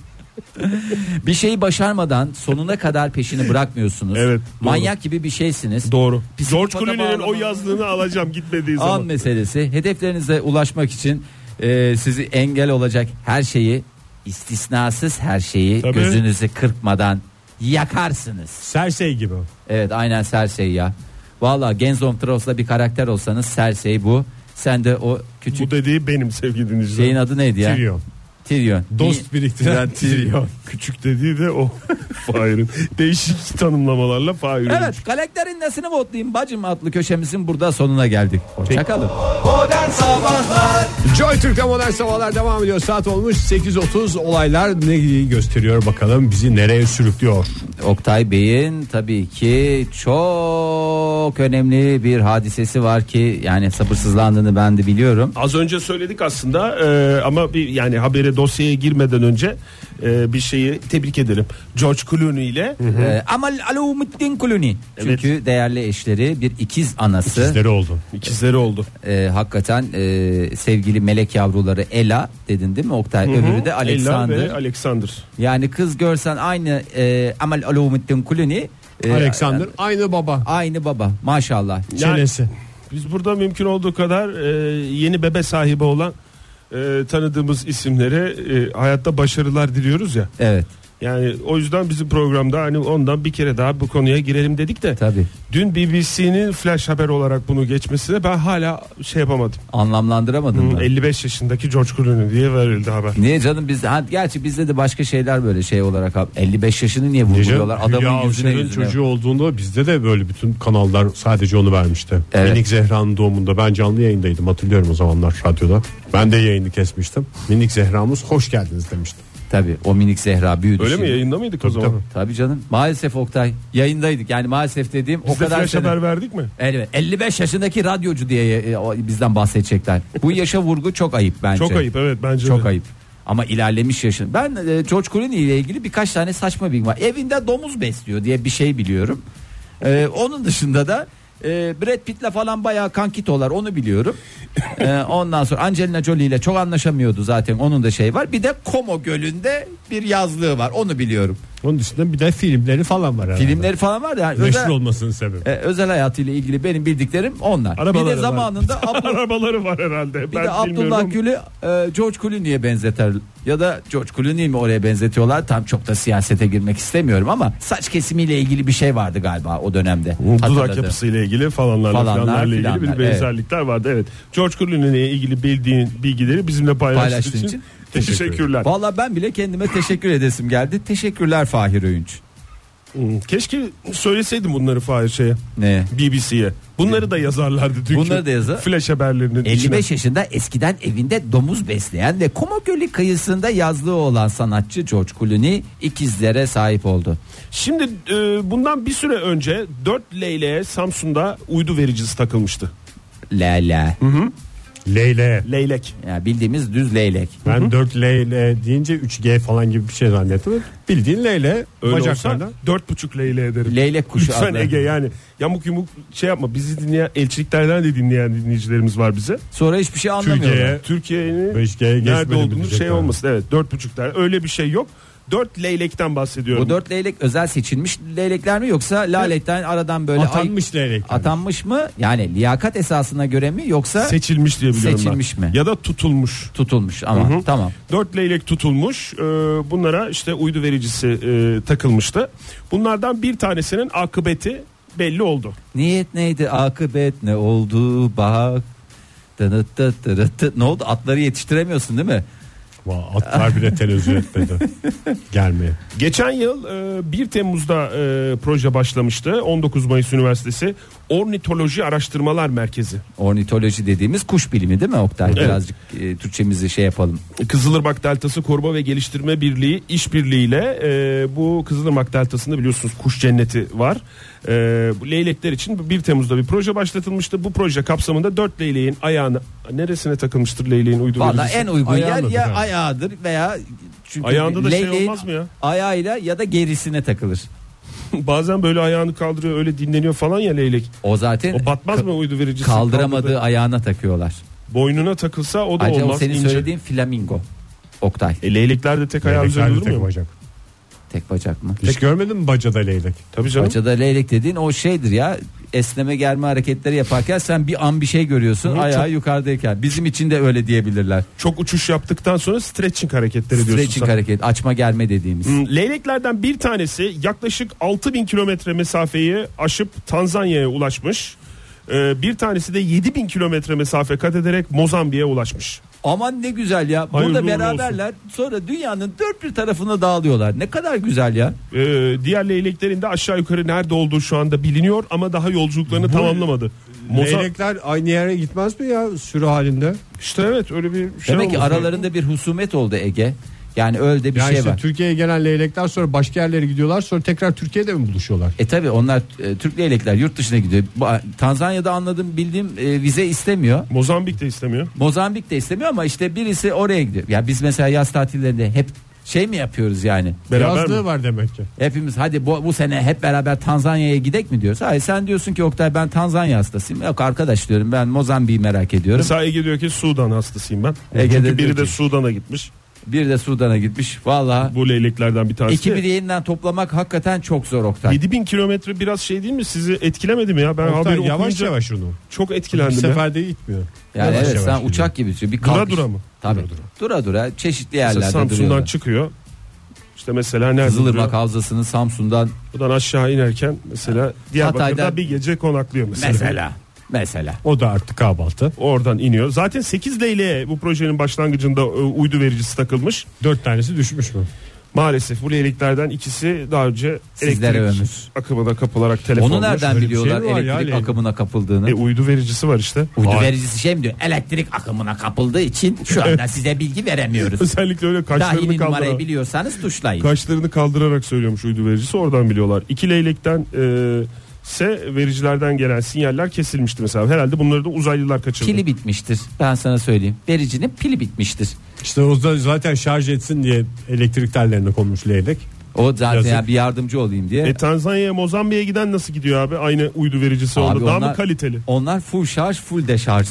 Bir şeyi başarmadan sonuna kadar peşini bırakmıyorsunuz.
Evet, doğru.
Manyak gibi bir şeysiniz.
Doğru.
Psikopata
George Clooney'nin o
bağlama.
yazdığını alacağım gitmediği
An
zaman.
meselesi. Hedeflerinize ulaşmak için e, sizi engel olacak her şeyi istisnasız her şeyi
Tabii.
gözünüzü kırpmadan yakarsınız.
Sersey gibi.
Evet aynen Cersei ya. Valla Genzom Trost'la bir karakter olsanız Cersei bu. Sen de o
Bu
küçük
dediği benim sevgili dinleyiciler.
şeyin adı neydi ya?
Giriyor.
Tyrion.
Dost biriktiren Tirion.
Küçük dediği de o Fahir'in. Değişik tanımlamalarla Fahir'in.
Evet karakterin nesini votlayayım bacım adlı köşemizin burada sonuna geldik. Hoşçakalın.
Modern Sabahlar
Joy Türk'te modern sabahlar devam ediyor. Saat olmuş 8.30 olaylar ne gösteriyor bakalım bizi nereye sürüklüyor.
Oktay Bey'in tabii ki çok önemli bir hadisesi var ki yani sabırsızlandığını ben de biliyorum.
Az önce söyledik aslında e, ama bir yani habere dosyaya girmeden önce e, bir şeyi tebrik edelim. George Clooney ile
Ee, Amal Alaumuddin Kuluni. Çünkü değerli eşleri bir ikiz anası.
Sizleri oldu.
ikizleri oldu.
Ee, hakikaten e, sevgili melek yavruları Ela dedin değil mi Oktay? Öbürü de
Ella
Alexander.
ve Alexander.
Yani kız görsen aynı e, Amal Alaumuddin Kuluni.
Ee,
e,
Alexander aynı baba.
Aynı baba maşallah.
Çenesi.
Biz burada mümkün olduğu kadar e, yeni bebe sahibi olan e, tanıdığımız isimlere e, hayatta başarılar diliyoruz ya.
Evet.
Yani o yüzden bizim programda hani ondan bir kere daha bu konuya girelim dedik de.
Tabii.
Dün BBC'nin flash haber olarak bunu geçmesine ben hala şey yapamadım.
Anlamlandıramadın mı?
55 yaşındaki George Clooney diye verildi haber.
Niye canım biz ha, gerçi bizde de başka şeyler böyle şey olarak abi. 55 yaşını niye vurguluyorlar adamın
Hülya
yüzüne
Avşar'ın
yüzüne.
çocuğu olduğunda bizde de böyle bütün kanallar sadece onu vermişti.
Evet.
Minik Zehra'nın doğumunda ben canlı yayındaydım hatırlıyorum o zamanlar radyoda. Ben de yayını kesmiştim. Minik Zehra'mız hoş geldiniz demişti.
Tabii o minik Zehra büyüdü.
Öyle mi
şimdi.
yayında mıydık o zaman?
tabii.
Tabii canım maalesef Oktay yayındaydık yani maalesef dediğim
Biz
o
de
kadar şey-
flash
sene-
haber verdik mi?
Evet, 55 yaşındaki radyocu diye e, o- bizden bahsedecekler. Bu yaşa vurgu çok ayıp bence.
Çok ayıp evet bence
Çok
de.
ayıp. Ama ilerlemiş yaşın. Ben e, George Clooney ile ilgili birkaç tane saçma bilgi var. Evinde domuz besliyor diye bir şey biliyorum. E, onun dışında da e, Brad Pitt'le falan bayağı kankitolar onu biliyorum. E, ondan sonra Angelina Jolie ile çok anlaşamıyordu zaten onun da şey var. Bir de Como Gölü'nde bir yazlığı var onu biliyorum.
Onun dışında bir de filmleri falan var herhalde.
Filmleri falan var da yani
Meşhur
özel,
olmasının sebebi.
e, özel hayatıyla ilgili benim bildiklerim onlar.
Arabaları
bir de
var.
zamanında Abdullah
Arabaları var herhalde.
Bir
ben
de
bilmiyorum
Abdullah
ama-
Gül'ü e, George Clooney'e benzeter ya da George Clooney'i mi oraya benzetiyorlar tam çok da siyasete girmek istemiyorum ama saç kesimiyle ilgili bir şey vardı galiba o dönemde.
Dudak
Hatırladım.
yapısıyla ilgili falanlarla
Falanlar,
falanlarla ilgili bir
filanlar, evet.
benzerlikler vardı. Evet. George Clooney'le ilgili bildiğin bilgileri bizimle paylaştığın
Paylaştığın
için,
için
teşekkürler.
Valla ben bile kendime teşekkür edesim geldi. Teşekkürler Fahir Öğünç.
Hmm, Keşke söyleseydim bunları Fahir şeye.
Ne?
BBC'ye. Bunları da yazarlardı dünkü.
Bunları da yazar.
Flash haberlerinin
55
içine.
yaşında eskiden evinde domuz besleyen ve Como Gölü kıyısında yazlığı olan sanatçı George Clooney ikizlere sahip oldu.
Şimdi e, bundan bir süre önce 4 leyleğe Samsun'da uydu vericisi takılmıştı.
Lele.
Leyle.
Leylek.
Ya bildiğimiz düz leylek.
Ben 4 Leyle deyince 3G falan gibi bir şey zannettim. Bildiğin Leyle.
Öyle olsa
bacaklardan.
4,5 leyleğe derim.
Leylek kuşu
Lütfen
adlı.
Ege yani yamuk yumuk şey yapma bizi dinleyen elçiliklerden de dinleyen dinleyicilerimiz var bize.
Sonra hiçbir şey anlamıyorlar.
Türkiye'ye
Türkiye'nin
5G'ye
nerede
geçmedi mi
olduğunu şey
diyecekler.
olmasın evet dört buçuklar öyle bir şey yok. Dört leylekten bahsediyorum.
Bu dört leylek özel seçilmiş leylekler mi yoksa laletten aradan böyle
Atanmış
ay-
leylekler.
Atanmış mı? Yani liyakat esasına göre mi yoksa
seçilmiş diye biliyorum ben.
Seçilmiş mi?
Ya da tutulmuş.
tutulmuş ama tamam.
Dört leylek tutulmuş. Ee, bunlara işte uydu vericisi e, takılmıştı. Bunlardan bir tanesinin akıbeti belli oldu.
Niyet neydi? Akıbet ne oldu? Bak. Dınıt tıt tırıt tıt. Ne oldu? Atları yetiştiremiyorsun değil mi?
Vah, Atlar bile televizyon etmedi. Gelmeye.
Geçen yıl e, 1 Temmuz'da e, proje başlamıştı. 19 Mayıs Üniversitesi Ornitoloji Araştırmalar Merkezi.
Ornitoloji dediğimiz kuş bilimi değil mi Oktay? Birazcık e, Türkçemizi şey yapalım.
Kızılırmak Deltası Koruma ve Geliştirme Birliği işbirliğiyle e, bu Kızılırmak Deltası'nda biliyorsunuz kuş cenneti var. E, bu leylekler için 1 Temmuz'da bir proje başlatılmıştı. Bu proje kapsamında 4 leyleğin ayağını neresine takılmıştır leyleğin uydu
Valla
vericisi?
en uygun yer
Ayağındadır
ya
ha.
ayağıdır veya çünkü
Ayağında da şey
leyleğin
olmaz mı ya?
Ayağıyla ya da gerisine takılır.
Bazen böyle ayağını kaldırıyor öyle dinleniyor falan ya leylek.
O zaten
O batmaz
ka-
mı uydu vericisi?
kaldıramadığı
Kaldırdı.
ayağına takıyorlar.
Boynuna takılsa o da
Acaba
olmaz.
senin
ince.
söylediğin flamingo. Oktay
E, leylekler de tek ayağı üzerinde
Leylekler de
durmuyor
tek
mu?
bacak.
tek bacak mı?
Hiç görmedin mi bacada leylek?
Tabii canım.
Bacada leylek dediğin o şeydir ya esneme germe hareketleri yaparken sen bir an bir şey görüyorsun ayağı yukarıdayken bizim için de öyle diyebilirler.
Çok uçuş yaptıktan sonra stretching hareketleri diyorsun
Stretching
sen.
hareket açma germe dediğimiz.
Hmm, Leyleklerden bir tanesi yaklaşık 6000 kilometre mesafeyi aşıp Tanzanya'ya ulaşmış. Ee, bir tanesi de 7000 kilometre mesafe kat ederek Mozambik'e ulaşmış.
Aman ne güzel ya
Hayırlı
burada
uğurlu
beraberler sonra dünyanın dört bir tarafına dağılıyorlar ne kadar güzel ya.
Ee, diğer leyleklerin de aşağı yukarı nerede olduğu şu anda biliniyor ama daha yolculuklarını tamamlamadı. Moza-
Leylekler aynı yere gitmez mi ya sürü halinde?
İşte evet öyle bir şey
Demek ki
olmuş.
aralarında bir husumet oldu Ege yani öyle de bir
Yani
şey
işte
var.
Türkiye'ye gelen leylekler sonra başka yerlere gidiyorlar sonra tekrar Türkiye'de mi buluşuyorlar?
E tabi onlar e, Türk leylekler yurt dışına gidiyor. Ba- Tanzanya'da anladım bildiğim e, vize istemiyor.
Mozambik de istemiyor.
Mozambik de istemiyor ama işte birisi oraya gidiyor. Ya biz mesela yaz tatillerinde hep şey mi yapıyoruz yani?
Beraber
Yazlığı
mi?
var demek ki.
Hepimiz hadi bu, bu sene hep beraber Tanzanya'ya gidek mi diyoruz? Hayır sen diyorsun ki Oktay ben Tanzanya hastasıyım. Yok arkadaş diyorum ben Mozambik'i merak ediyorum.
Mesela Ege diyor ki Sudan hastasıyım ben.
Ege de
Çünkü biri
diyor
de
ki-
Sudan'a gitmiş.
Bir de Sudan'a gitmiş. Valla
Bu leyleklerden bir tanesi. de-
ekibi yeniden toplamak hakikaten çok zor Oktay.
7000 kilometre biraz şey değil mi sizi etkilemedi mi ya? Ben
Oktay,
haberi
yavaş
okuyunca
yavaş onu.
çok
Bir
etkilendim ya.
seferde gitmiyor.
Yani
Yavaş
evet
yavaş
sen
gidiyor.
uçak gibi bir
Dura
kalkış.
dura mı?
Tabii.
Dura
Dura
dura.
dura, çeşitli
Mesela
yerlerde
Samsun'dan
duruyorlar.
çıkıyor. İşte mesela nerede
Kızılırmak
duruyor?
Havzası'nın Samsun'dan
Buradan aşağı inerken mesela Diyarbakır'da
Hatay'dan-
bir gece konaklıyor mesela.
mesela mesela
O da artık kahvaltı.
Oradan iniyor. Zaten 8 leyleğe bu projenin başlangıcında e, uydu vericisi takılmış.
Dört tanesi düşmüş mü?
Maalesef bu leyleklerden ikisi daha önce
Sizlere
elektrik
ömür.
akımına kapılarak telefon
Onu nereden biliyorlar
şey
mi şey var ya
elektrik
Leyla?
akımına kapıldığını?
E, uydu vericisi var işte.
Uydu
Vay.
vericisi şey mi diyor? Elektrik akımına kapıldığı için şu anda size bilgi veremiyoruz.
Özellikle öyle kaşlarını
Dahili numarayı
kaldırarak,
biliyorsanız tuşlayın.
kaşlarını kaldırarak söylüyormuş uydu vericisi. Oradan biliyorlar. İki leylekten e, ise vericilerden gelen sinyaller kesilmişti mesela. Herhalde bunları da uzaylılar kaçırdı.
Pili bitmiştir. Ben sana söyleyeyim. Vericinin pili bitmiştir.
İşte o da zaten şarj etsin diye elektrik tellerine konmuş leylek.
O zaten
Yazık.
ya bir yardımcı olayım diye.
E Tanzanya'ya Mozambik'e giden nasıl gidiyor abi? Aynı uydu vericisi
Abi
onda. Daha mı kaliteli?
Onlar full şarj, full deşarj.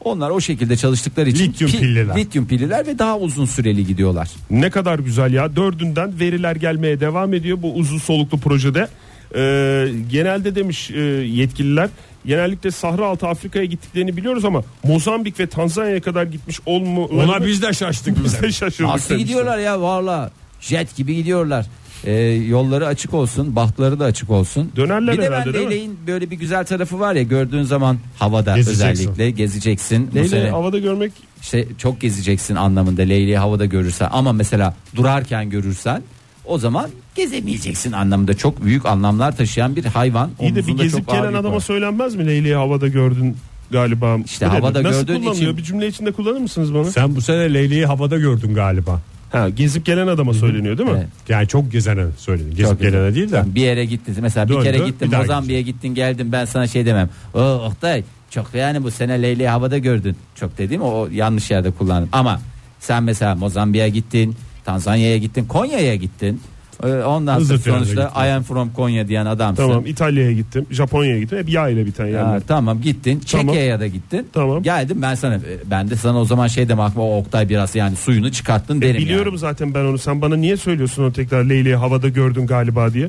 Onlar o şekilde çalıştıkları için
Lityum
pi-
pilliler.
lityum pilliler ve daha uzun süreli gidiyorlar.
Ne kadar güzel ya. Dördünden veriler gelmeye devam ediyor bu uzun soluklu projede. Ee, genelde demiş e, yetkililer genellikle Sahra altı Afrika'ya gittiklerini biliyoruz ama Mozambik ve Tanzanya'ya kadar gitmiş olma
Ona biz de şaştık biz.
bize şaşırdık.
Nasıl
demişler.
gidiyorlar ya valla jet gibi gidiyorlar. Ee, yolları açık olsun, bahtları da açık olsun.
Dönerler
bir de
herhalde,
ben
değil mi?
leyleğin böyle bir güzel tarafı var ya gördüğün zaman havada
Gezeceksin.
özellikle gezeceksin. Bu
Leyleği
sene
havada görmek
işte çok gezeceksin anlamında leyleği havada görürsen ama mesela durarken görürsen o zaman gezemeyeceksin anlamında çok büyük anlamlar taşıyan bir hayvan.
iyi de bir
Omuzunda
gezip
çok ağır
gelen
yük
adama
var.
söylenmez mi Leyleği havada gördün galiba.
İşte
Bu nedir?
havada
Nasıl
gördüğün
kullanılıyor?
için-
Bir cümle içinde kullanır mısınız bana?
Sen bu sene Leyli'yi havada gördün galiba.
Ha, gezip gelen adama söyleniyor değil mi?
Evet.
Yani çok gezene söyledin. Gezip
Çok
gelene değil de.
bir yere gittin mesela
Döndü,
bir kere
bir
gittin
daha
Mozambik'e gittin geldin ben sana şey demem. O Oktay çok yani bu sene Leyli'yi havada gördün. Çok dediğim o yanlış yerde kullandım. Ama sen mesela Mozambik'e gittin, Tanzanya'ya gittin, Konya'ya gittin. Ee, Ondan sonra
Hızlı trenle
sonuçta
gittin.
I am from Konya diyen adamsın.
Tamam İtalya'ya gittim, Japonya'ya gittim. Hep yağ ile biten
Ya,
yerler. E,
tamam gittin
Tamam.
Çekya'ya da gittin.
Tamam.
Geldim ben sana ben de sana o zaman şey demem aklıma, o Oktay biraz yani suyunu çıkarttın derim.
Biliyorum
yani.
zaten ben onu. Sen bana niye söylüyorsun onu tekrar Leyli'yi havada gördün galiba diye?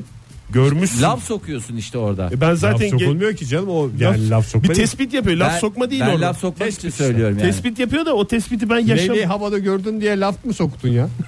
Görmüşsün.
Laf sokuyorsun işte orada.
E ben zaten
laf sokulmuyor ki canım o yani laf,
bir
sokma. değil.
tespit yapıyor. Laf
Ben-
sokma değil
ben
orada.
laf sokmak için
Tespit işte.
söylüyorum yani.
Tespit yapıyor da o tespiti ben yaşam.
Leyli'yi havada gördün diye laf mı soktun ya?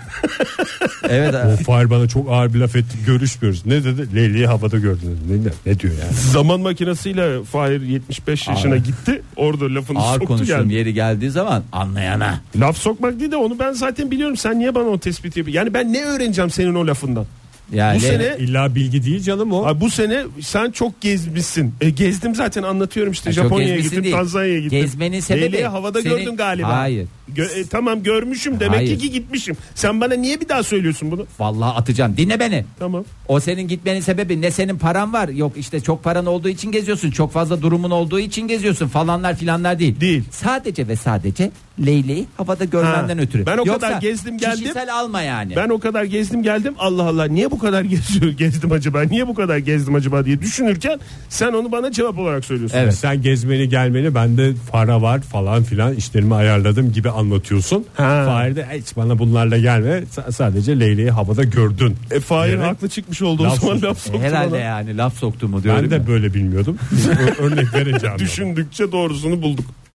Evet.
o Fahir bana çok ağır bir laf etti. Görüşmüyoruz. Ne dedi? Leyli'yi havada gördün dedi. Ne, ne diyor yani?
Zaman makinesiyle Fahir 75 yaşına gitti. Orada lafını
ağır
soktu
konuştuğum
geldi.
yeri geldiği zaman anlayana.
Laf sokmak değil de onu ben zaten biliyorum. Sen niye bana o tespiti yapıyorsun? Yani ben ne öğreneceğim senin o lafından?
Yani
Bu sene
İlla bilgi değil canım o.
Ay bu sene sen çok gezmişsin. E, gezdim zaten anlatıyorum işte.
Ya çok
Japonya'ya
gezmişsin
gittim,
değil.
Tanzanya'ya gittim.
Gezmenin sebebi
Leyleği havada
senin-
gördün galiba.
Hayır.
Gö- e, tamam görmüşüm demek
Hayır.
ki gitmişim. Sen bana niye bir daha söylüyorsun bunu?
vallahi atacağım. Dinle beni.
Tamam.
O senin gitmenin sebebi ne senin paran var yok işte çok paran olduğu için geziyorsun çok fazla durumun olduğu için geziyorsun falanlar filanlar değil.
Değil.
Sadece ve sadece Leyle'yi havada görmenden
Ha,
ötürü.
ben o
Yoksa
kadar gezdim geldim.
Kişisel alma yani.
Ben o kadar gezdim geldim. Allah Allah niye bu kadar geziyor, gezdim acaba? Niye bu kadar gezdim acaba diye düşünürken sen onu bana cevap olarak söylüyorsun.
Evet.
Sen gezmeni gelmeni bende para var falan filan işlerimi ayarladım gibi anlatıyorsun.
Ha.
Fahir de hiç bana bunlarla gelme. Sa- sadece Leyli'yi havada gördün.
E, Fahir
Evet.
haklı çıkmış oldu o
Laf
zaman
soktu.
laf soktu
Herhalde
bana.
yani laf soktu mu diyorum.
Ben de böyle bilmiyordum. Ö- Örnek vereceğim.
Düşündükçe doğrusunu bulduk.